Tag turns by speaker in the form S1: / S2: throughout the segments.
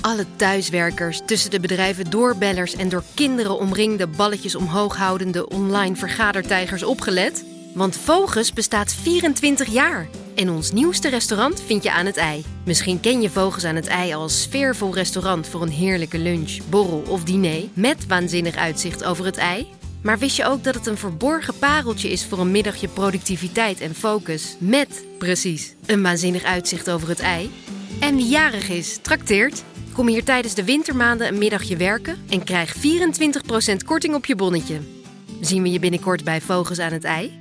S1: alle thuiswerkers, tussen de bedrijven doorbellers en door kinderen omringde balletjes omhoog houdende online vergadertijgers opgelet? Want Vogus bestaat 24 jaar en ons nieuwste restaurant vind je aan het ei. Misschien ken je Vogus aan het ei als sfeervol restaurant voor een heerlijke lunch, borrel of diner met waanzinnig uitzicht over het ei. Maar wist je ook dat het een verborgen pareltje is voor een middagje productiviteit en focus? Met, precies, een waanzinnig uitzicht over het ei. En wie jarig is, trakteert. Kom hier tijdens de wintermaanden een middagje werken en krijg 24% korting op je bonnetje. Zien we je binnenkort bij Vogels aan het Ei?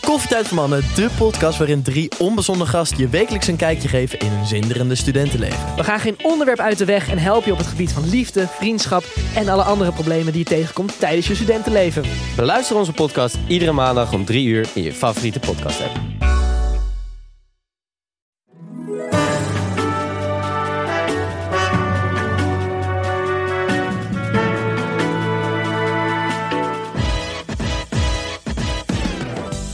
S2: Koffietijd voor Mannen, de podcast waarin drie onbezonnen gasten je wekelijks een kijkje geven in hun zinderende studentenleven.
S3: We gaan geen onderwerp uit de weg en helpen je op het gebied van liefde, vriendschap en alle andere problemen die je tegenkomt tijdens je studentenleven.
S4: Beluister onze podcast iedere maandag om 3 uur in je favoriete podcast app.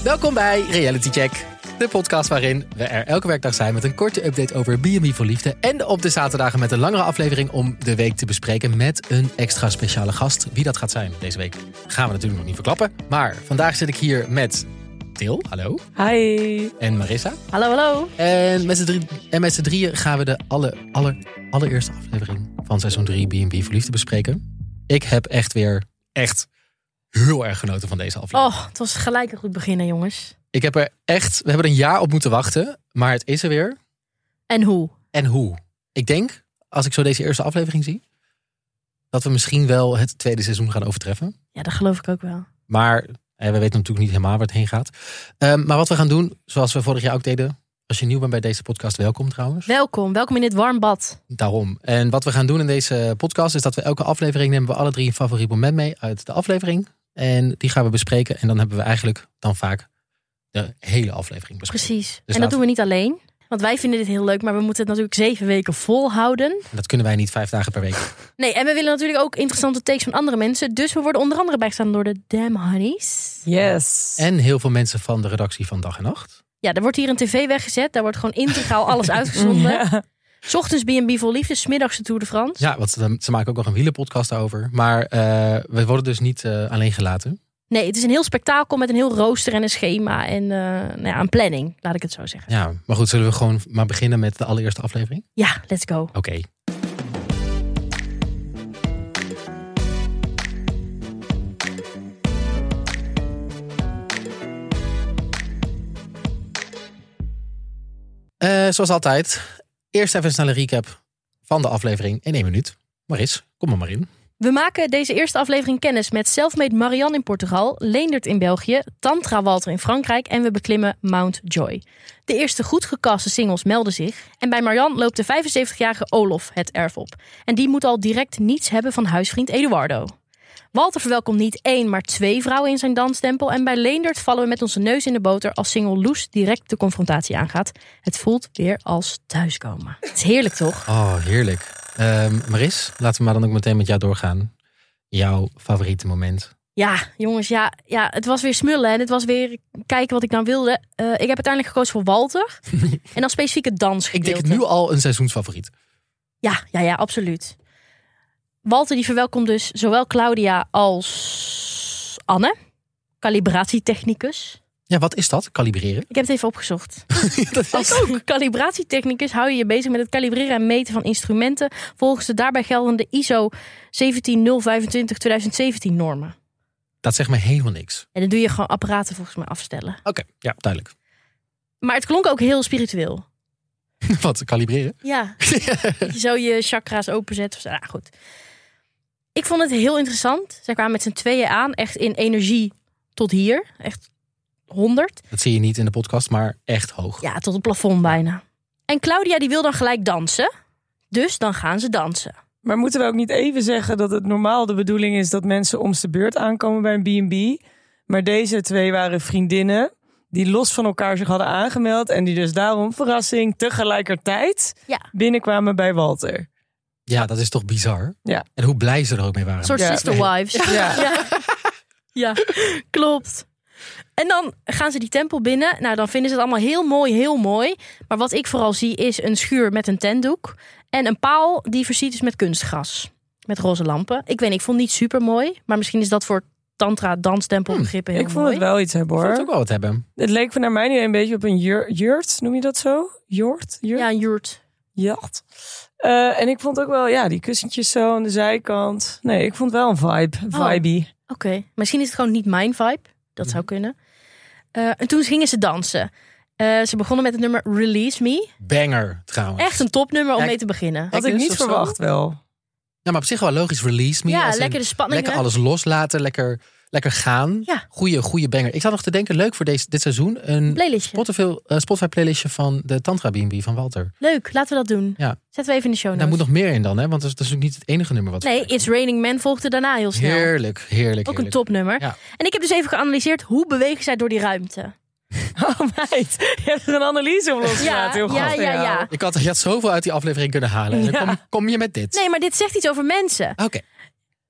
S5: Welkom bij Reality Check, de podcast waarin we er elke werkdag zijn met een korte update over B&B voor liefde en op de zaterdagen met een langere aflevering om de week te bespreken met een extra speciale gast. Wie dat gaat zijn deze week gaan we natuurlijk nog niet verklappen, maar vandaag zit ik hier met Til, hallo,
S6: Hi.
S5: en Marissa.
S6: Hallo, hallo.
S5: En met z'n drie, en met z'n drieën gaan we de aller, aller, allereerste aflevering van seizoen 3 B&B voor liefde bespreken. Ik heb echt weer, echt heel erg genoten van deze aflevering.
S6: Oh, het was gelijk een goed begin, hè, jongens.
S5: Ik heb er echt, we hebben er een jaar op moeten wachten, maar het is er weer.
S6: En hoe?
S5: En hoe? Ik denk, als ik zo deze eerste aflevering zie, dat we misschien wel het tweede seizoen gaan overtreffen.
S6: Ja, dat geloof ik ook wel.
S5: Maar eh, we weten natuurlijk niet helemaal waar het heen gaat. Ehm, maar wat we gaan doen, zoals we vorig jaar ook deden. Als je nieuw bent bij deze podcast, welkom trouwens.
S6: Welkom, welkom in dit warm bad.
S5: Daarom. En wat we gaan doen in deze podcast is dat we elke aflevering nemen we alle drie een favoriet moment mee uit de aflevering. En die gaan we bespreken. En dan hebben we eigenlijk dan vaak de hele aflevering besproken.
S6: Precies. en
S5: laten-
S6: dat doen we niet alleen. Want wij vinden dit heel leuk, maar we moeten het natuurlijk zeven weken volhouden.
S5: En dat kunnen wij niet vijf dagen per week.
S6: Nee, en we willen natuurlijk ook interessante takes van andere mensen. Dus we worden onder andere bijgestaan door de Damn Honeys.
S3: Yes.
S5: En heel veel mensen van de redactie van Dag en Nacht.
S6: Ja, er wordt hier een tv weggezet. Daar wordt gewoon integraal alles uitgezonden. S Ochtends B&B vol liefde, 's middags de Tour de France.
S5: Ja, want ze, ze maken ook nog een wielenpodcast over. Maar eh, we worden dus niet eh, alleen gelaten.
S6: Nee, het is een heel spektakel met een heel rooster en een schema en eh, nou ja, een planning, laat ik het zo zeggen.
S5: Ja, maar goed, zullen we gewoon maar beginnen met de allereerste aflevering?
S6: Ja, let's go.
S5: Oké. Eh, zoals altijd, eerst even een snelle recap van de aflevering in één minuut. Maris, kom er maar in.
S6: We maken deze eerste aflevering kennis met Selfmade Marianne in Portugal, Leendert in België, Tantra Walter in Frankrijk en we beklimmen Mount Joy. De eerste goed gecaste singles melden zich en bij Marianne loopt de 75-jarige Olof het erf op. En die moet al direct niets hebben van huisvriend Eduardo. Walter verwelkomt niet één, maar twee vrouwen in zijn danstempel en bij Leendert vallen we met onze neus in de boter als single Loes direct de confrontatie aangaat. Het voelt weer als thuiskomen. Het is heerlijk toch?
S5: Oh, heerlijk. Ehm, Maris, laten we maar dan ook meteen met jou doorgaan. Jouw favoriete moment.
S6: Ja, jongens, ja, ja, het was weer smullen en het was weer kijken wat ik nou wilde. Eh, ik heb uiteindelijk gekozen voor Walter en dan specifiek het
S5: Ik
S6: dansgedeelte.
S5: denk nu al een seizoensfavoriet.
S6: Ja, ja, ja, absoluut. Walter die verwelkomt dus zowel Claudia als Anne, calibratietechnicus.
S5: Ja, wat is dat? Kalibreren?
S6: Ik heb het even opgezocht.
S5: dat is...
S6: Als calibratietechnicus hou je je bezig met het kalibreren en meten van instrumenten volgens de daarbij geldende ISO 17025-2017 normen.
S5: dat zegt mij helemaal niks.
S6: En dan doe je gewoon apparaten volgens mij afstellen.
S5: Oké, ja, duidelijk.
S6: Maar het klonk ook heel spiritueel.
S5: wat, kalibreren?
S6: Ja. dat je zo je chakra's openzet. Of zo. Ah, goed. Ik vond het heel interessant. Zij kwamen met z'n tweeën aan. Echt in energie tot hier. Echt 100.
S5: Dat zie je niet in de podcast, maar echt hoog.
S6: Ja, tot het plafond bijna. En Claudia die wil dan gelijk dansen. Dus dan gaan ze dansen.
S7: Maar moeten we ook niet even zeggen dat het normaal de bedoeling is dat mensen om de beurt aankomen bij een B&B? Maar deze twee waren vriendinnen die los van elkaar zich hadden aangemeld en die dus daarom, verrassing, tegelijkertijd
S6: Ja.
S7: binnenkwamen bij Walter.
S5: Ja, dat is toch bizar?
S7: Ja.
S5: En hoe blij ze er ook mee
S6: Een
S5: waren.
S6: soort
S7: Ja.
S6: sister wives.
S7: Ja.
S6: Ja, klopt. En dan gaan ze die tempel binnen. Nou, dan vinden ze het allemaal heel mooi, heel mooi. Maar wat ik vooral zie is een schuur met een tentdoek. En een paal die versierd is met kunstgras. Met roze lampen. Ik weet niet, ik vond het niet super mooi. Maar misschien is dat voor tantra danstempel begrippen heel
S7: Hm, Ik vond
S6: mooi.
S7: het wel iets hebben
S5: Ik
S7: hoor.
S5: vond
S7: Het,
S5: het ook wel wat hebben.
S7: leek van naar mijn idee een beetje op een jur- jurt, noem je dat zo? Jort? Jurt?
S6: Ja, een jurt.
S7: Jacht. Eh, en ik vond ook wel, ja, die kussentjes zo aan de zijkant. Nee, ik vond wel een vibe.
S6: Oh.
S7: Vibey.
S6: Oké, misschien is het gewoon niet mijn vibe.
S7: Hm.
S6: Dat zou kunnen. Eh, en toen gingen ze dansen. Eh, ze begonnen met het nummer Release Me.
S5: Banger, trouwens.
S6: Echt een topnummer om
S5: Ja,
S6: mee te beginnen.
S7: Had ik
S5: dus
S7: niet
S5: of zo?
S7: verwacht wel.
S5: Ja, maar op zich wel logisch. Release me.
S6: Ja,
S5: als in
S6: lekker de spanning.
S5: lekker
S6: hè?
S5: alles loslaten. Lekker, lekker gaan.
S6: Ja.
S5: Goeie, goeie banger. Ik zat nog te denken, leuk voor deze, dit seizoen. Een
S6: Playlistje.
S5: Spotify, eh, Spotify playlistje van de Tantra B&B van Walter.
S6: Leuk, laten we dat doen.
S5: Ja.
S6: Zetten we even in de show notes.
S5: Daar moet nog meer in dan, hè? Want dat is natuurlijk niet het enige nummer wat... we
S6: Nee,
S5: krijgen.
S6: It's Raining Men volgde daarna heel snel.
S5: Heerlijk, heerlijk,
S6: Ook een
S5: heerlijk.
S6: topnummer.
S5: Ja.
S6: En ik heb dus even geanalyseerd hoe bewegen zij door die ruimte.
S7: Oh meid, je hebt er een analyse op losgelaten. Heel goed
S6: ja,
S7: van
S6: ja,
S7: jou.
S6: ja.
S5: Ik had, je had zoveel uit die aflevering kunnen halen. En dan
S7: Ja.
S5: kom, kom je met dit.
S6: Nee, maar dit zegt iets over mensen.
S5: Oké.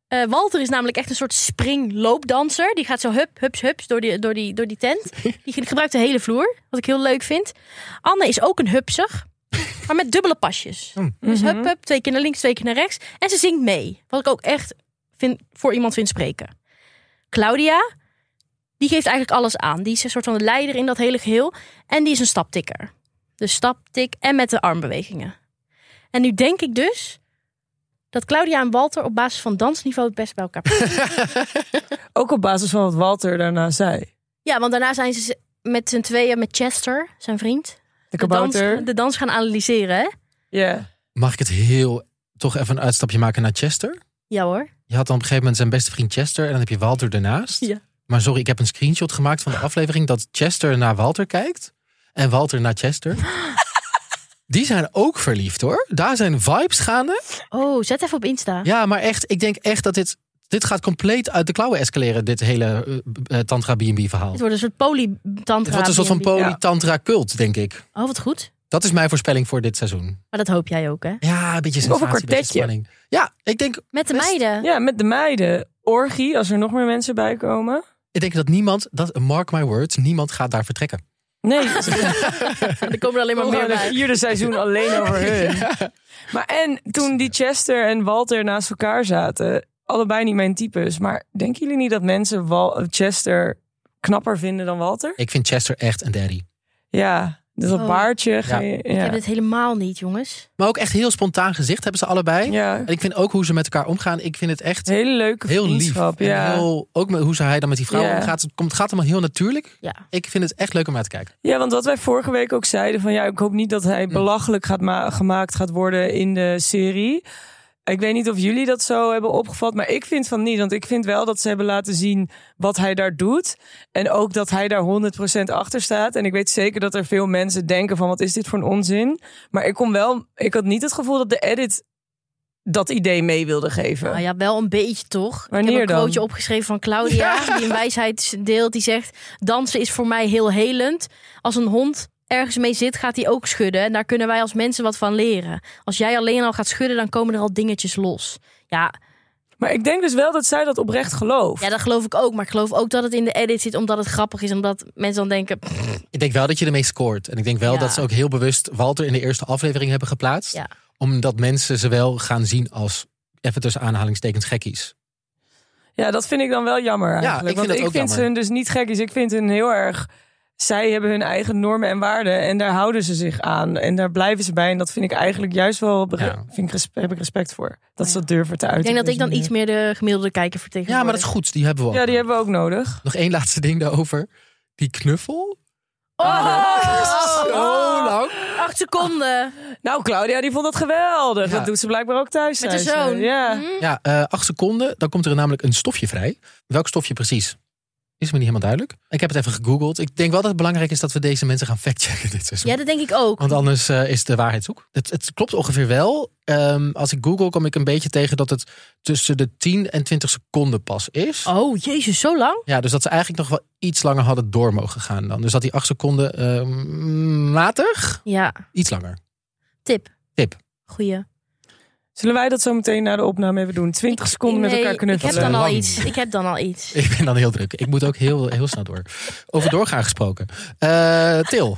S6: Eh, Walter is namelijk echt een soort springloopdanser. Die gaat zo hup, hups, hups door die, door die, door die tent. Die gebruikt de hele vloer, wat ik heel leuk vind. Anne is ook een hupsig, maar met dubbele pasjes. Dus hup, hup, twee keer naar links, twee keer naar rechts. En ze zingt mee, wat ik ook echt vind, voor iemand vind spreken. Claudia, die geeft eigenlijk alles aan. Die is een soort van de leider in dat hele geheel. En die is een staptikker. Dus staptik en met de armbewegingen. En nu denk ik dus dat Claudia en Walter op basis van dansniveau het best bij elkaar passen.
S7: Ook op basis van wat Walter daarna zei.
S6: ja, want daarna zijn ze met z'n tweeën met Chester, zijn vriend,
S7: De
S6: de dans,
S7: kabouter.
S6: de dans gaan analyseren. Hè?
S7: Ja.
S5: Mag ik het heel... Toch even een uitstapje maken naar Chester?
S6: Ja hoor.
S5: Je had dan op een gegeven moment zijn beste vriend Chester... en dan heb je Walter daarnaast.
S6: Ja.
S5: Maar sorry, ik heb een screenshot gemaakt van de aflevering... dat Chester naar Walter kijkt en Walter naar Chester. Die zijn ook verliefd, hoor. Daar zijn vibes gaande.
S6: Oh, zet even op Insta.
S5: Ja, maar echt, ik denk echt dat dit... Dit gaat compleet uit de klauwen escaleren, dit hele eh, eh, Tantra B&B verhaal.
S6: Het wordt een soort polytantra.
S5: Het wordt een soort van
S6: B&B.
S5: poly-tantra-cult, denk ik.
S6: Oh, wat goed.
S5: Dat is mijn voorspelling voor dit seizoen.
S6: Maar dat hoop jij ook, hè?
S5: Ja, een beetje sensatie,
S7: Of een
S5: beetje
S7: kwartetje.
S5: spanning. Ja, ik denk,
S6: Met de
S5: Best.
S6: meiden.
S7: ja, met de meiden. Orgie, als er nog meer mensen bij komen.
S5: ik denk dat niemand, dat, mark my words, niemand gaat daar vertrekken.
S7: Nee, ze
S6: Er komen er alleen maar
S7: komen
S6: meer
S7: het
S6: bij.
S7: vierde seizoen alleen over hun. Maar en toen die Chester en Walter naast elkaar zaten, allebei niet mijn types. Maar denken jullie niet dat mensen Wal- Chester knapper vinden dan Walter?
S5: Ik vind Chester echt een daddy.
S7: Ja, dus dat
S6: Oh.
S7: baardje. ge-
S6: Ik
S7: Ja.
S6: heb dit helemaal niet, jongens.
S5: Maar ook echt heel spontaan gezicht hebben ze allebei.
S7: Ja.
S5: En ik vind ook hoe ze met elkaar omgaan, ik vind het echt
S7: Hele leuke
S5: heel lief.
S7: vriendschap.
S5: En
S7: ja.
S5: heel, ook met, hoe ze hij dan met die vrouw
S7: Ja.
S5: omgaat. Het, komt, het gaat allemaal heel natuurlijk.
S6: Ja.
S5: Ik vind het echt leuk om naar te kijken.
S7: Ja, want wat wij vorige week ook zeiden: van ja, ik hoop niet dat
S6: Hm.
S7: hij belachelijk gaat ma- gemaakt gaat worden in de serie. Ik weet niet of jullie dat zo hebben opgevat, maar ik vind van niet. Want ik vind wel dat ze hebben laten zien wat hij daar doet. En ook dat hij daar 100% achter staat. En ik weet zeker dat er veel mensen denken van wat is dit voor een onzin. Maar ik, kon wel, ik had niet het gevoel dat de edit dat idee mee wilde geven.
S6: Nou ja, wel een beetje toch. ik
S7: Wanneer
S6: heb een
S7: dan?
S6: quoteje opgeschreven van Claudia, die een wijsheid deelt. Die zegt, dansen is voor mij heel helend. Als een hond ergens mee zit, gaat hij ook schudden. En daar kunnen wij als mensen wat van leren. Als jij alleen al gaat schudden, dan komen er al dingetjes los. Ja,
S7: Maar ik denk dus wel dat zij dat oprecht gelooft.
S6: ja dat geloof ik ook. Maar ik geloof ook dat het in de edit zit, omdat het grappig is. Omdat mensen dan denken, pff,
S5: Ik denk wel dat je ermee scoort. En ik denk wel
S6: Ja.
S5: dat ze ook heel bewust Walter in de eerste aflevering hebben geplaatst.
S6: Ja.
S5: Omdat mensen ze wel gaan zien als, even tussen aanhalingstekens, gekkies.
S7: Ja, dat vind ik dan wel jammer eigenlijk.
S5: ik vind
S7: Want
S5: dat
S7: ik
S5: ook
S7: vind ze
S5: jammer.
S7: hun dus niet gek is. Ik vind hun heel erg... Zij hebben hun eigen normen en waarden en daar houden ze zich aan. En daar blijven ze bij. En dat vind ik eigenlijk juist wel... bere-
S5: Ja.
S7: Vind ik res- heb ik respect voor. Dat ze dat durven te uiten.
S6: Oh ik denk dat
S7: op
S6: ik dan
S7: deze
S6: iets meer de gemiddelde kijker
S5: Ja,
S6: vertegenwoordig.
S5: maar dat is goed. Die hebben we al.
S7: manier. Ja, die hebben we ook nodig.
S5: Nog één laatste ding daarover. Die knuffel.
S6: Oh,
S5: Oh, Zo lang.
S6: acht seconden.
S7: Nou, Claudia, die vond dat geweldig.
S5: Ja.
S7: Dat doet ze blijkbaar ook thuis.
S6: Met de
S7: zei ze.
S6: zoon.
S7: Ja.
S6: Hm?
S5: Ja, eh, acht seconden. Dan komt er namelijk een stofje vrij. Welk stofje precies? Is me niet helemaal duidelijk. Ik heb het even gegoogeld. Ik denk wel dat het belangrijk is dat we deze mensen gaan factchecken dit seizoen.
S6: Ja, dat denk ik ook.
S5: Want anders eh, is de waarheid zoek. Het, het klopt ongeveer wel. Ehm, als ik google kom ik een beetje tegen dat het tussen de 10 en 20 seconden pas is.
S6: Oh, jezus, zo lang?
S5: Ja, dus dat ze eigenlijk nog wel iets langer hadden door mogen gaan dan. Dus dat die acht seconden ehm matig
S6: Ja,
S5: iets langer.
S6: tip.
S5: Tip.
S6: Goeie.
S7: Zullen wij dat zo meteen na de opname even doen? 20 seconden met
S6: Nee,
S7: elkaar knuffelen.
S6: Ik heb dan al
S5: Lang.
S6: iets. Ik heb dan al iets.
S5: Ik ben dan heel druk. Ik moet ook heel, heel snel door. Over doorgaan gesproken. Eh, Til.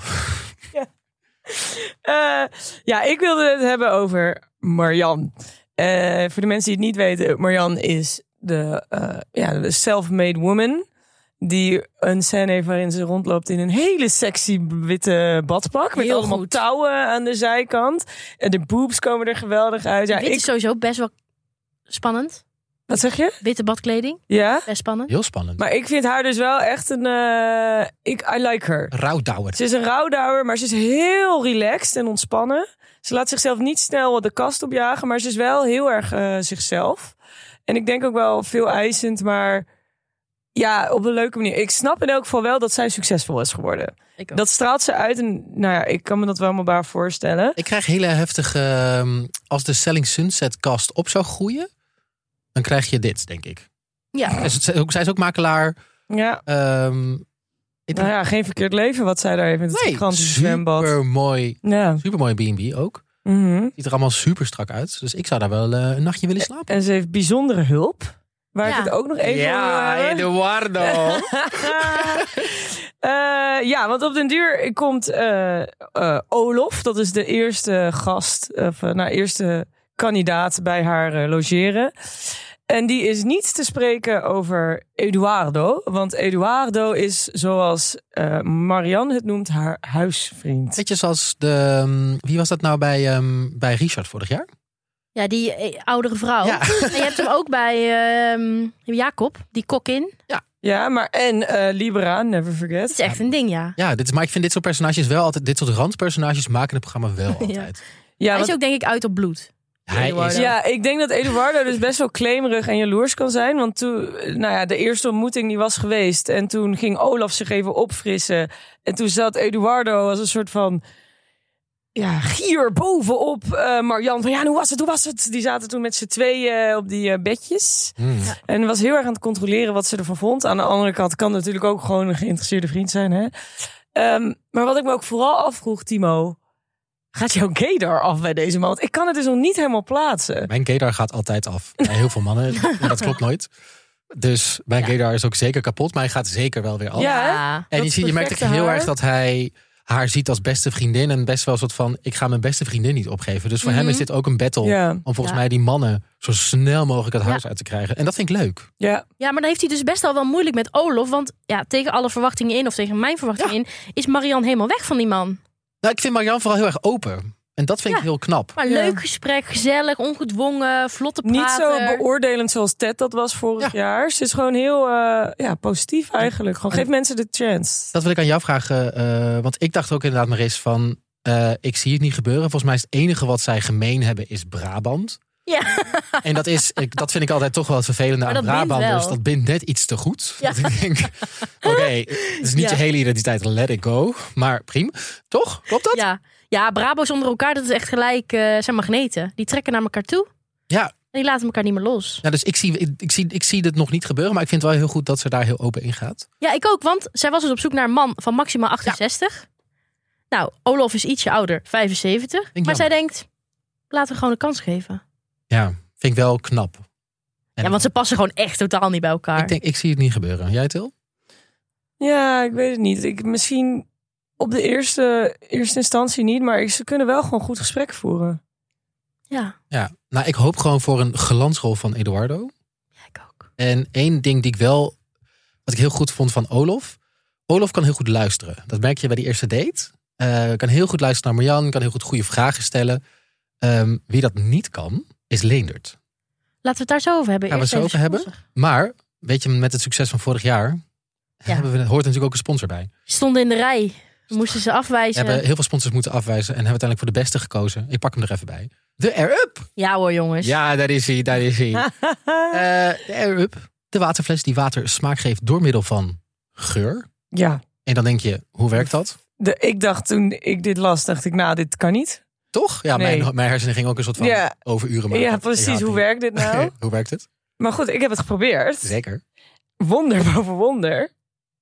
S7: Eh, ja, ik wilde het hebben over Marjan. Eh, voor de mensen die het niet weten, Marjan is de, eh, ja, de self-made woman. Die een scène heeft waarin ze rondloopt in een hele sexy witte badpak. Met
S6: Heel
S7: allemaal
S6: goed.
S7: touwen aan de zijkant. En de boobs komen er geweldig uit. Ja,
S6: Dit
S7: ik,
S6: is sowieso best wel spannend.
S7: wat zeg je?
S6: Witte badkleding,
S7: Ja?
S6: best spannend.
S5: Heel spannend.
S7: Maar ik vind haar dus wel echt een... eh, ik, I like her.
S5: Rauwdouwer.
S7: Ze is een rouwdouwer, maar ze is heel relaxed en ontspannen. Ze laat zichzelf niet snel de kast opjagen, maar ze is wel heel erg eh, zichzelf. En ik denk ook wel veel eisend, maar ja, op een leuke manier. Ik snap in elk geval wel dat zij succesvol is geworden.
S6: Ik ook.
S7: Dat straalt ze uit en nou ja, ik kan me dat wel maar baar voorstellen.
S5: Ik krijg hele heftige... ehm, als de Selling Sunset cast op zou groeien... dan krijg je dit, denk ik.
S6: Ja.
S5: En ze- ook- Zij is ook makelaar.
S7: Ja,
S5: Ehm, ik
S7: nou ja, geen verkeerd leven wat zij daar heeft met het gigantische zwembad.
S5: supermooi.
S7: Ja.
S5: Supermooi B&B ook.
S7: mhm.
S5: Ziet er allemaal super strak uit. Dus ik zou daar wel eh, een nachtje willen slapen.
S7: En ze heeft bijzondere hulp. Waar
S6: Ja.
S7: ik het ook nog Eh, even over wil hebben.
S5: Eduardo.
S7: Eh, ja, want op den duur komt eh, eh, Olof, dat is de eerste gast, of eh, nou, eerste kandidaat bij haar eh, logeren. En die is niet te spreken over Eduardo, want Eduardo is, zoals eh Marianne het noemt, haar huisvriend.
S5: Netjes als de... ehm, wie was dat nou bij, ehm, bij Richard vorig jaar?
S6: ja, die eh, oudere vrouw.
S5: Ja.
S6: En je hebt hem ook bij ehm, Jacob, die kokin.
S7: Ja, maar en eh, Libera, never
S6: Dat is
S7: forget.
S6: echt een ding, ja.
S5: Ja, dit, is- maar ik vind dit soort personages wel altijd... Dit soort randpersonages maken het programma wel altijd.
S7: Ja,
S6: Hij
S7: want-
S6: is ook denk ik uit op bloed.
S5: Hij is...
S7: Ja, ik denk dat Eduardo dus best wel claimerig en jaloers kan zijn. Want toen, nou ja, de eerste ontmoeting die was geweest. En toen ging Olaf zich even opfrissen. En toen zat Eduardo als een soort van... Ja, gier bovenop eh Marjan. Van ja, en hoe was het, hoe was het? Die zaten toen met z'n tweeën op die eh, bedjes.
S5: Hmm.
S7: En was heel erg aan het controleren wat ze ervan vond. Aan de andere kant kan natuurlijk ook gewoon een geïnteresseerde vriend zijn. Hè? Ehm, maar wat ik me ook vooral afvroeg, Timo. Gaat jouw gaydar af bij deze man? Want ik kan het dus nog niet helemaal plaatsen.
S5: Mijn gaydar gaat altijd af. Bij heel veel mannen. maar dat klopt nooit. Dus mijn gaydar is ook zeker kapot. Maar hij gaat zeker wel weer af.
S7: Ja, hè?
S5: en je,
S7: dat
S5: ziet, je merkt echt
S7: perfecte
S5: heel
S7: haar.
S5: erg dat hij haar ziet als beste vriendin. En best wel een soort van... Ik ga mijn beste vriendin niet opgeven. Dus voor hem
S6: Mhm.
S5: is dit ook een battle.
S7: Ja.
S5: Om volgens
S6: Ja.
S5: mij die mannen zo snel mogelijk het
S6: Ja.
S5: huis uit te krijgen. En dat vind ik leuk.
S7: Ja,
S6: Ja, maar dan heeft hij dus best al wel moeilijk met Olof. Want ja, tegen alle verwachtingen in, of tegen mijn verwachtingen in, is Marianne helemaal weg van die man.
S5: Nou, ik vind Marianne vooral heel erg open. En dat vind ik
S6: Ja.
S5: heel knap.
S6: Maar
S7: Ja.
S6: leuk gesprek, gezellig, ongedwongen, vlotte praten.
S7: niet zo beoordelend zoals Ted dat was vorig jaar. Ze is gewoon heel eh, ja, positief eigenlijk. Gewoon geef mensen de chance.
S5: Dat wil ik aan jou vragen. eh, want ik dacht ook inderdaad maar eens van... eh, ik zie het niet gebeuren. Volgens mij is het enige wat zij gemeen hebben is Brabant.
S6: Ja.
S5: En dat, is, ik, dat vind ik altijd toch wel het vervelende
S6: Maar
S5: aan
S6: dat bindt
S5: Brabanders.
S6: wel.
S5: dat bindt net iets te goed.
S6: Ja.
S5: Dat ik denk, oké, het is niet
S6: Ja.
S5: je hele identiteit, let it go. Maar prima, toch? Klopt dat?
S6: Ja. ja, Brabo's onder elkaar, dat is echt gelijk eh, zijn magneten. Die trekken naar elkaar toe.
S5: Ja.
S6: En die laten elkaar niet meer los.
S5: Nou, dus ik zie, ik, ik zie, ik zie dit nog niet gebeuren. Maar ik vind het wel heel goed dat ze daar heel open in gaat.
S6: Ja, ik ook, want zij was dus op zoek naar een man van maximaal 68. Nou, Olof is ietsje ouder, 75. maar
S5: jammer.
S6: zij denkt, laten we gewoon een kans geven.
S5: Ja, vind ik wel knap. En
S6: Ja, want ze passen gewoon echt totaal niet bij elkaar.
S5: ik, denk, ik zie het niet gebeuren. Jij, Til?
S7: Ja, ik weet het niet. Ik, misschien op de eerste, eerste instantie niet. Maar ik- ze kunnen wel gewoon goed gesprek voeren.
S6: Ja,
S5: Ja, nou, ik hoop gewoon voor een glansrol van Eduardo.
S6: ik ook.
S5: En één ding die ik wel, wat ik heel goed vond van Olof. Olof kan heel goed luisteren. Dat merk je bij die eerste date. Eh, kan heel goed luisteren naar Marjan, kan heel goed goede vragen stellen. Ehm, wie dat niet kan, is Leendert.
S6: Laten we het daar zo over hebben.
S5: Gaan we
S6: Eerst
S5: het zo
S6: even
S5: over hebben?
S6: sponsor.
S5: Maar, weet je, met het succes van vorig jaar,
S6: Ja.
S5: hebben we, hoort er natuurlijk ook een sponsor bij.
S6: Ze Stonden in de rij. We moesten ze
S5: We
S6: afwijzen.
S5: hebben heel veel sponsors moeten afwijzen en hebben uiteindelijk voor de beste gekozen. Ik pak hem er even bij. De Air Up!
S6: Ja hoor, jongens.
S5: Ja, daar is hij, daar is hij. Eh, de Air Up, de waterfles die water smaak geeft door middel van geur.
S7: Ja,
S5: En dan denk je, hoe werkt dat?
S7: de, ik dacht toen ik dit las, dacht ik, nou, dit kan niet.
S5: Toch? Ja,
S7: Nee.
S5: mijn, mijn hersenen gingen ook een soort van
S7: Ja.
S5: overuren maken.
S7: Ja, precies. Hoe werkt dit nou?
S5: hoe werkt het?
S7: Maar goed, ik heb het geprobeerd.
S5: Zeker.
S7: wonder boven wonder.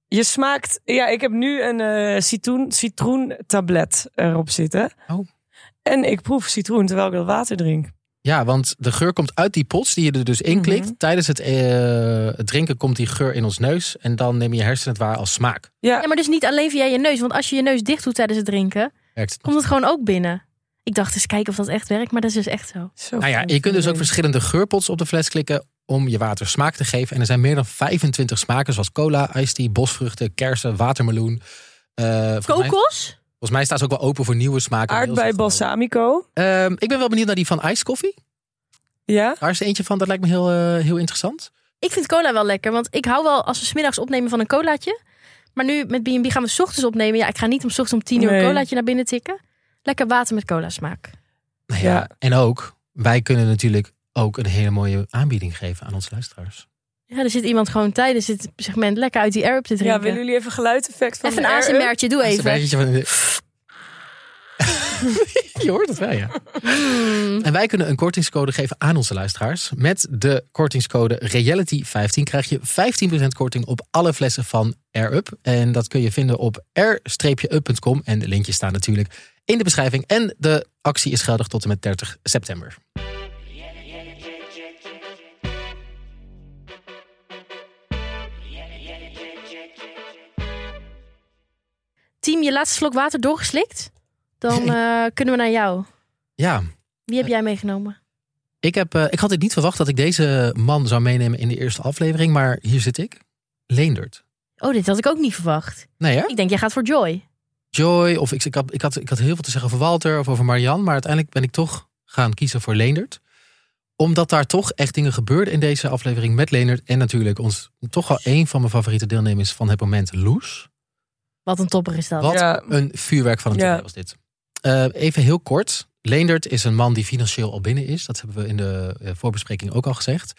S7: Je smaakt. Ja, ik heb nu een eh citroen, citroentablet erop zitten.
S5: Oh.
S7: En ik proef citroen terwijl ik dat water drink.
S5: Ja, want de geur komt uit die pots die je er dus in klikt.
S7: Mhm.
S5: Tijdens het, eh, het drinken komt die geur in ons neus. En dan neem je hersenen het waar als smaak.
S7: Ja,
S6: Ja, maar dus niet alleen via je neus. Want als je je neus dicht doet tijdens het drinken,
S5: Werkt het
S6: komt het gewoon ook binnen. Ik dacht eens kijken of dat echt werkt, maar dat is dus echt zo.
S7: zo
S5: Nou ja,
S7: fijn
S5: je kunt dus ook
S7: vind ik.
S5: verschillende geurpots op de fles klikken om je water smaak te geven. En er zijn meer dan 25 smaken, zoals cola, iced tea, bosvruchten, kersen, watermeloen. Eh, volgens, mij,
S6: Kokos?
S5: volgens mij staat ze ook wel open voor nieuwe smaken.
S7: Aardbei balsamico.
S5: Ehm, ik ben wel benieuwd naar die van iced coffee.
S7: Ja.
S5: Daar is er eentje van, dat lijkt me heel, eh, heel interessant.
S6: Ik vind cola wel lekker, want ik hou wel als we 's middags opnemen van een colaatje. Maar nu met B&B gaan we 's ochtends opnemen. Ja, ik ga niet om 's ochtends om tien uur
S7: Nee.
S6: een colaatje naar binnen tikken. Lekker water met cola smaak.
S5: Nou ja,
S7: Ja.
S5: En ook, wij kunnen natuurlijk ook een hele mooie aanbieding geven aan onze luisteraars.
S6: Ja, er zit iemand gewoon tijdens dit segment lekker uit die air-up te
S7: Ja,
S6: drinken.
S7: willen jullie even geluideffect van
S6: even een
S7: de air-up?
S6: ASMR'tje, doe
S5: Is er een
S6: even.
S5: beetje van Je hoort het wel, ja.
S6: Hmm.
S5: En wij kunnen een kortingscode geven aan onze luisteraars. Met de kortingscode Reality15 krijg je 15% korting op alle flessen van Air Up. En dat kun je vinden op air-up.com. En de linkjes staan natuurlijk in de beschrijving. En de actie is geldig tot en met 30 september.
S6: Team, je laatste slok water doorgeslikt? Dan eh, kunnen we naar jou.
S5: Ja,
S6: Wie heb jij meegenomen?
S5: ik, heb, eh, ik had het niet verwacht dat ik deze man zou meenemen in de eerste aflevering. Maar hier zit ik. Leendert.
S6: Oh, dit had ik ook niet verwacht.
S5: Nee hè?
S6: Ik denk, jij gaat voor Joy.
S5: Joy. Of ik, ik, had, ik, had, ik had heel veel te zeggen over Walter of over Marianne. Maar uiteindelijk ben ik toch gaan kiezen voor Leendert. Omdat daar toch echt dingen gebeurden in deze aflevering met Leendert. En natuurlijk ons, toch wel een van mijn favoriete deelnemers van het moment, Loes.
S6: Wat een topper is dat.
S5: Wat
S7: Ja.
S5: een vuurwerk van een
S7: Ja.
S5: toernooi was dit. Eh, even heel kort. Leendert is een man die financieel al binnen is. Dat hebben we in de eh, voorbespreking ook al gezegd.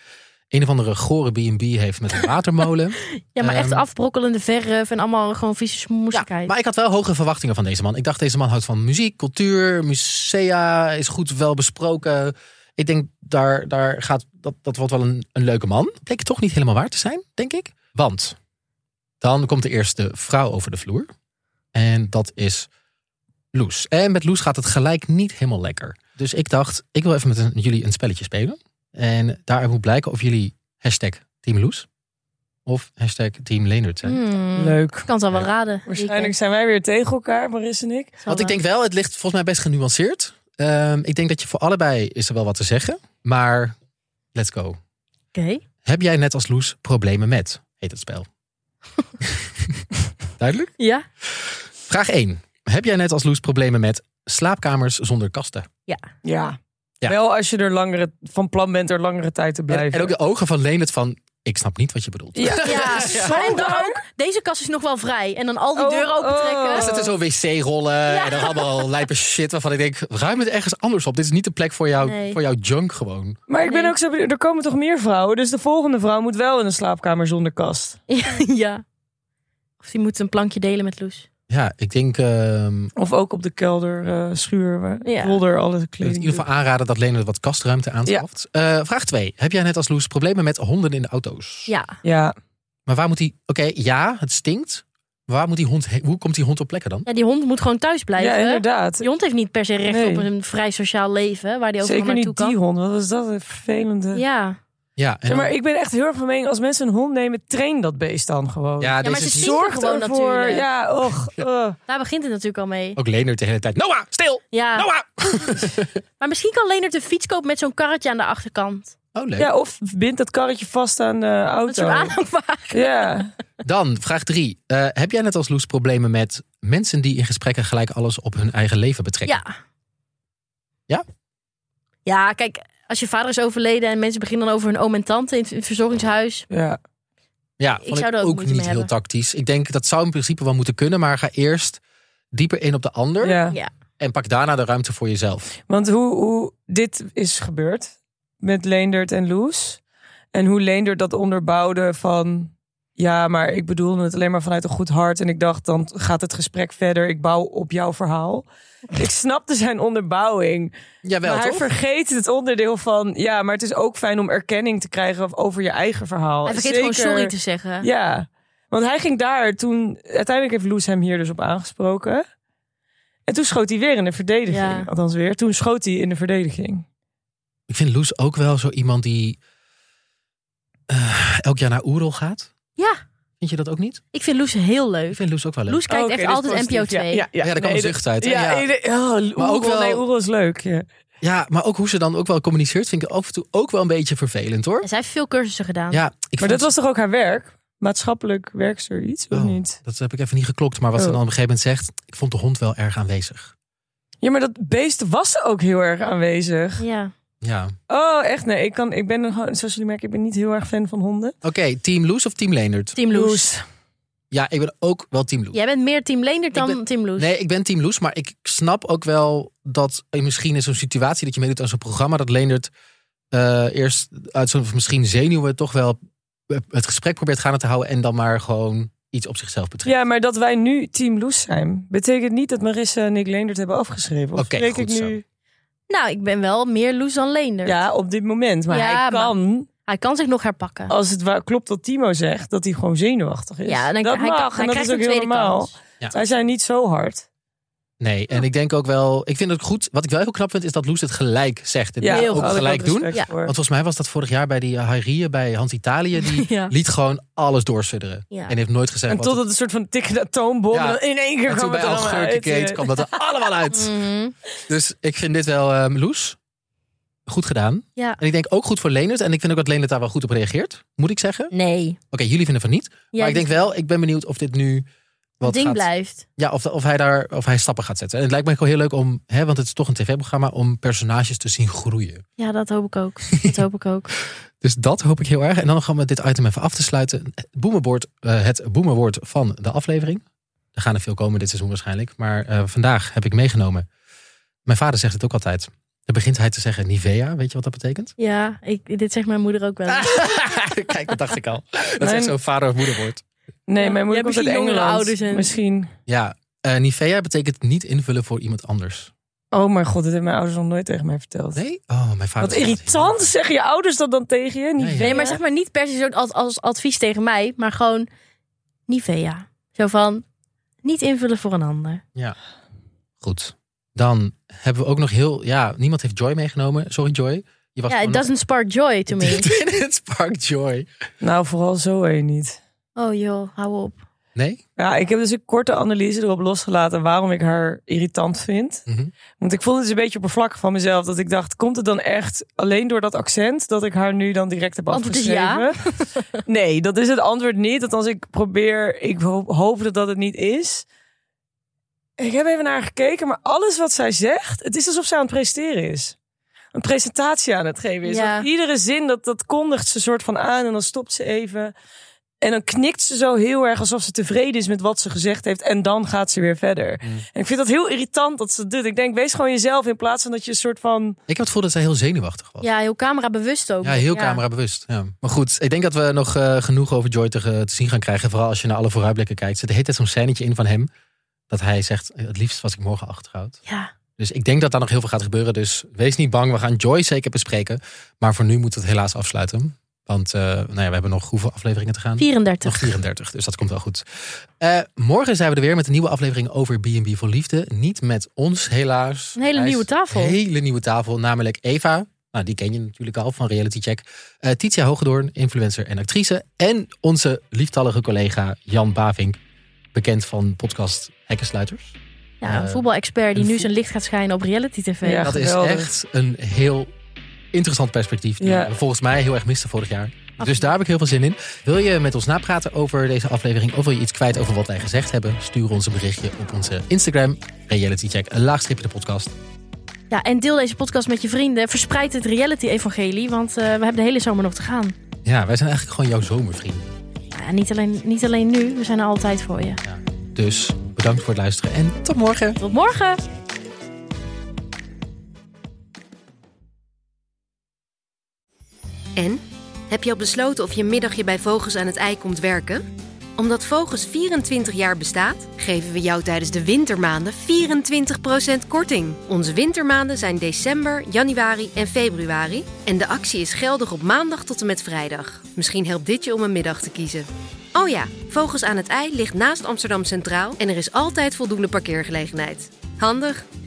S5: Een of andere gore B&B heeft met een watermolen.
S6: Ja, maar echt
S5: Ehm,
S6: afbrokkelende verf en allemaal gewoon vieze smoesigheid.
S5: Maar ik had wel hoge verwachtingen van deze man. Ik dacht, deze man houdt van muziek, cultuur, musea, is goed wel besproken. Ik denk, daar, daar gaat, dat, dat wordt wel een, een leuke man. Bleek toch niet helemaal waar te zijn, denk ik. Want dan komt de eerste vrouw over de vloer. En dat is Loes. En met Loes gaat het gelijk niet helemaal lekker. Dus ik dacht, ik wil even met een- jullie een spelletje spelen. En daaruit moet blijken of jullie hashtag Team Loes of hashtag Team Leendert zijn.
S6: Hmm,
S7: Leuk.
S6: Ik kan het al wel raden.
S7: Waarschijnlijk zijn wij weer tegen elkaar, Maris en ik.
S5: Want ik denk wel, het ligt volgens mij best genuanceerd. Ehm, ik denk dat je voor allebei is er wel wat te zeggen. Maar let's go.
S6: eh, Oké.
S5: Heb jij net als Loes problemen met? Heet het spel. Duidelijk?
S6: Ja?
S5: Vraag 1. Heb jij net als Loes problemen met slaapkamers zonder kasten?
S7: Ja.
S5: Ja.
S7: Wel als je er langere, van plan bent er langere tijd te
S5: En,
S7: blijven.
S5: en ook de ogen van Leendert van, ik snap niet wat je bedoelt.
S7: Ja.
S6: Ja. En dan
S7: raar.
S6: ook, deze kast is nog wel vrij. En dan al die
S7: Oh,
S6: deuren open trekken.
S7: oh.
S5: Er zitten zo wc-rollen en dan allemaal lijpe shit waarvan ik denk, ruim het ergens anders op. Dit is niet de plek voor, jou,
S6: Nee.
S5: voor jouw junk gewoon.
S7: Maar ik ben
S6: Nee.
S7: ook zo benieuwd, er komen toch meer vrouwen? Dus de volgende vrouw moet wel in een slaapkamer zonder kast. oh.
S6: ja. Of die moet een plankje delen met Loes.
S5: Ja, ik denk, ehm,
S7: Of ook op de kelder, eh, schuur, waar
S6: Ja.
S7: zolder, alle
S5: Ik wil het
S7: kleding.
S5: in ieder geval aanraden dat Leonard wat kastruimte aanschaft. Eh, vraag 2. Heb jij net als Loes problemen met honden in de auto's?
S6: Ja.
S7: Ja,
S5: Maar waar moet die... Oké, ja, het stinkt. Waar moet die hond... he- Hoe komt die hond op plekken dan?
S6: ja, die hond moet gewoon thuis
S7: ja
S6: blijven.
S7: inderdaad.
S6: die hond heeft niet per se recht
S7: Nee.
S6: op een vrij sociaal leven. Waar die overal
S7: Zeker
S6: naartoe
S7: niet die
S6: kan.
S7: hond, wat is dat een vervelende...
S6: Ja.
S5: Ja, en
S7: Zeg maar
S5: dan-
S7: ik ben echt heel erg van mening, als mensen een hond nemen, train dat beest dan gewoon.
S5: ja,
S6: Ja, maar
S5: deze
S6: ze
S5: is niet...
S6: zien-
S7: Zorg
S6: Gewoon
S7: ervoor.
S6: natuurlijk.
S7: Ja, och. eh.
S6: Daar begint het natuurlijk al mee.
S5: Ook Leonard de hele tijd. Noah, stil!
S6: Ja.
S5: Noah!
S6: Maar misschien kan Leonard een fiets kopen met zo'n karretje aan de achterkant.
S5: Oh, leuk.
S7: eh. Ja, of bind dat karretje vast aan de
S6: Een soort
S7: auto.
S6: aanhangwagen.
S7: Ja.
S5: Dan, vraag 3. heb jij net als Loes problemen met mensen die in gesprekken gelijk alles op hun eigen leven betrekken?
S6: Ja.
S5: Ja?
S6: Ja, kijk, als je vader is overleden en mensen beginnen dan over hun oom en tante in het in het verzorgingshuis.
S7: ja.
S5: Ja,
S6: Ik
S5: vond
S6: zou
S5: ik,
S6: daar ook
S5: ook
S6: moeite
S5: niet heel
S6: mee hebben.
S5: tactisch. Ik denk, dat zou in principe wel moeten kunnen, maar ga eerst dieper in op de ander.
S7: ja.
S6: Ja.
S5: En pak daarna de ruimte voor jezelf.
S7: Want hoe, hoe dit is gebeurd met Leendert en Loes. En hoe Leendert dat onderbouwde van... Ja, maar ik bedoelde het alleen maar vanuit een goed hart. En ik dacht, dan gaat het gesprek verder. Ik bouw op jouw verhaal. Ik snapte zijn onderbouwing.
S5: Jawel,
S7: maar hij
S5: toch?
S7: vergeet het onderdeel van... Ja, maar het is ook fijn om erkenning te krijgen over je eigen verhaal.
S6: Hij vergeet
S7: Oh, Zeker-
S6: gewoon sorry te zeggen.
S7: Ja, want hij ging daar toen. Uiteindelijk heeft Loes hem hier dus op aangesproken. En toen schoot hij weer in de verdediging.
S6: Ja.
S7: Althans, weer. Toen schoot hij in de verdediging.
S5: Ik vind Loes ook wel zo iemand die eh, elk jaar naar Oerol gaat.
S6: Ja,
S5: Vind je dat ook niet?
S6: ik vind Loes heel
S5: Ik
S6: leuk.
S5: vind Loes ook wel leuk.
S6: Loes kijkt
S7: Oh, Oké,
S6: echt
S7: dit is
S6: altijd NPO
S7: positief.
S6: 2.
S7: Ja, ja,
S5: ja, daar kan
S7: nee,
S5: een
S7: dit-
S5: zucht uit. hè?
S7: Ja,
S5: Ja,
S7: ieder- oh,
S5: Maar ook
S7: Oerol,
S5: wel-
S7: nee, Oerol is leuk. Ja.
S5: Ja, maar ook hoe ze dan ook wel communiceert vind ik af en toe ook wel een beetje vervelend hoor.
S6: En zij heeft veel cursussen gedaan.
S5: Ja, ik
S7: Maar
S5: vond-
S7: dat was toch ook haar werk? Maatschappelijk werk zoiets, of
S5: Oh,
S7: niet?
S5: Dat heb ik even niet geklokt, maar wat ze
S7: Oh.
S5: dan op een gegeven moment zegt, ik vond de hond wel erg aanwezig.
S7: Ja, maar dat beest was ook heel erg aanwezig.
S6: Ja.
S5: Ja.
S7: Oh, echt? Nee, ik, kan, ik ben, gewoon- zoals jullie merken, ik ben niet heel erg fan van honden.
S5: Oké, team Loes of team Leendert?
S6: Team Loes.
S5: Ja, ik ben ook wel team Loes.
S6: Jij bent meer Team Leendert dan
S5: ben-
S6: Team Loes.
S5: Nee, ik ben team Loes, maar ik snap ook wel dat eh, misschien in zo'n situatie dat je meedoet aan zo'n programma, dat Leendert eh, eerst uit zo'n misschien zenuwen toch wel het gesprek probeert gaande te houden en dan maar gewoon iets op zichzelf betreft.
S7: Ja, maar dat wij nu Team Loes zijn, betekent niet dat Marissa en ik Leendert hebben afgeschreven. Of
S5: Oké,
S7: spreek
S5: goed
S7: ik
S5: zo.
S7: nu?
S6: Nou, ik ben wel meer Loes dan Leendert.
S7: Ja, op dit moment. Maar
S6: Ja,
S7: hij
S6: maar-
S7: kan,
S6: Hij kan zich nog herpakken.
S7: als het waar, klopt wat Timo zegt, dat hij gewoon zenuwachtig is.
S6: Ja, en hij-
S7: dus dat
S6: hij-
S7: mag,
S6: hij
S7: en dat
S6: krijgt
S7: is ook
S6: een
S7: heel
S6: tweede
S7: normaal.
S6: kans.
S5: Ja.
S7: Wij zijn niet zo hard.
S5: Nee, en ik denk ook wel, ik vind het goed. Wat ik wel heel knap vind, is dat Loes het gelijk zegt. En
S7: Ja,
S5: ja,
S6: heel
S5: ook
S7: had ik
S5: gelijk
S7: ook
S5: doen.
S7: respect
S6: Ja.
S7: voor.
S5: Want volgens mij was dat vorig jaar bij die eh, Hairieën bij Hans Italië. Die
S6: Ja.
S5: liet gewoon alles doorsudderen.
S6: Ja.
S5: En heeft nooit gezegd
S7: En
S5: wat
S7: totdat het een soort van tikkende atoombom
S5: Ja.
S7: en dan in één keer
S5: En toen
S7: kwam
S5: bij
S7: het er allemaal uit.
S5: Algeurkenkate kwam dat er allemaal uit.
S6: Mhm.
S5: Dus ik vind dit wel ehm, Loes. Goed gedaan.
S6: Ja.
S5: En ik denk ook goed voor Leendert. En ik vind ook dat Leendert daar wel goed op reageert. Moet ik zeggen. Oké,
S6: Nee.
S5: jullie vinden van niet.
S6: Ja,
S5: maar ik denk wel, ik ben benieuwd of dit nu wat
S6: ding
S5: gaat-
S6: blijft.
S5: Ja, of, of, hij daar, of hij stappen gaat zetten. En het lijkt me ook wel heel leuk om, hè, want het is toch een tv-programma, om personages te zien groeien.
S6: Ja, dat hoop ik ook. Dat hoop ik ook.
S5: Dus dat hoop ik heel erg. En dan gaan we dit item even af te sluiten. Het Boemerwoord, eh, het boemerwoord van de aflevering. Er gaan er veel komen dit seizoen waarschijnlijk. Maar eh, vandaag heb ik meegenomen. Mijn vader zegt het ook altijd. Dan begint hij te zeggen Nivea. Weet je wat dat betekent?
S6: Ja, ik, dit zegt mijn moeder ook
S5: Ah.
S6: wel. eens.
S5: Kijk, dat dacht ik al. Dat is
S7: Mijn-
S5: echt zo'n vader- of moederwoord.
S7: Nee, mijn
S6: Ja,
S7: moeder komt uit
S6: misschien jongere
S7: Engeland.
S6: ouders en-
S7: Misschien.
S5: Ja, eh, Nivea betekent niet invullen voor iemand anders.
S7: Oh mijn god, dat hebben mijn ouders nog nooit tegen mij verteld.
S5: Nee? Oh, mijn vader.
S7: Wat
S5: zegt dat
S7: irritant, zeggen je ouders dat dan tegen je? Niet
S5: Ja, ja.
S6: Nee, maar zeg maar niet per se zo als, als advies tegen mij, maar gewoon Nivea. Zo van niet invullen voor een ander.
S5: heel- Goed. Dan hebben we ook nog heel... Ja, niemand heeft Joy meegenomen. Sorry Joy. Je was
S6: Ja, it doesn't spark joy to me.
S5: It spark Joy.
S7: Nou, vooral zo een niet.
S6: Oh joh, hou op.
S5: Nee?
S7: Ja, ik heb dus een korte analyse erop losgelaten waarom ik haar irritant vind.
S5: Mhm.
S7: Want ik voelde het een beetje oppervlakkig van mezelf. Dat ik dacht, komt het dan echt alleen door dat accent dat ik haar nu dan direct heb
S6: Antwoord is
S7: afgeschreven? nee, dat is het antwoord niet. Althans, ik probeer, ik hoop, hoop dat dat het niet is. Ik heb even naar haar gekeken, maar alles wat zij zegt, het is alsof zij aan het presteren is. Een presentatie aan het geven is.
S6: Ja.
S7: Want Iedere zin, dat, dat kondigt ze soort van aan en dan stopt ze even. En dan knikt ze zo heel erg alsof ze tevreden is met wat ze gezegd heeft. En dan gaat ze weer verder. En ik vind dat heel irritant dat ze dat doet. Ik denk, wees gewoon jezelf in plaats van dat je een soort van...
S5: Ik heb het gevoel dat zij heel zenuwachtig was. Ja,
S6: Ja, heel camera bewust ook.
S5: heel camerabewust. Ja. Maar goed, ik denk dat we nog eh, genoeg over Joy te, ge- te zien gaan krijgen. Vooral als je naar alle vooruitblikken kijkt. Er zit de hele tijd zo'n scènetje in van hem. Dat hij zegt, "Eh, het liefst was ik morgen achterhoud.
S6: Ja,
S5: Dus ik denk dat daar nog heel veel gaat gebeuren. Dus wees niet bang, we gaan Joy zeker bespreken. Maar voor nu moeten we het helaas afsluiten. Want eh, nou ja, we hebben nog hoeveel afleveringen te gaan?
S6: 34.
S5: Nog 34, dus dat komt wel goed. Eh, morgen zijn we er weer met een nieuwe aflevering over B&B voor Liefde. Niet met ons, helaas.
S6: Een hele
S5: Hij is-
S6: nieuwe tafel.
S5: Een hele nieuwe tafel, namelijk Eva. Nou, die ken je natuurlijk al van Reality Check. Eh Titia Hogedoorn, influencer en actrice. En onze lieftallige collega Jan Bavink. Bekend van podcast Hekkensluiters.
S6: Ja, een
S5: Eh,
S6: voetbalexpert die
S5: een
S6: nu
S5: voet-
S6: zijn licht gaat schijnen op reality tv.
S7: Ja.
S5: dat
S7: geweldig.
S5: is echt een heel interessant perspectief. Die
S7: Ja.
S5: we volgens mij heel erg miste vorig jaar. Dus daar heb ik heel veel zin in. Wil je met ons napraten over deze aflevering? Of wil je iets kwijt over wat wij gezegd hebben? Stuur ons een berichtje op onze Instagram. Realitycheck, een laagstreepje de podcast.
S6: Ja, en deel deze podcast met je vrienden. Verspreid het reality-evangelie, want eh, we hebben de hele zomer nog te gaan.
S5: Ja, wij zijn eigenlijk gewoon jouw zomervrienden.
S6: Ja, niet, alleen, niet alleen nu, we zijn er altijd voor je.
S5: Dus bedankt voor het luisteren en tot morgen.
S6: Tot morgen!
S1: En? Heb je al besloten of je een middagje bij Vogels aan het ei komt werken? Omdat Vogels 24 jaar bestaat, geven we jou tijdens de wintermaanden 24% korting. Onze wintermaanden zijn december, januari en februari. En de actie is geldig op maandag tot en met vrijdag. Misschien helpt dit je om een middag te kiezen. Oh ja, Vogels aan het ei ligt naast Amsterdam Centraal en er is altijd voldoende parkeergelegenheid. Handig!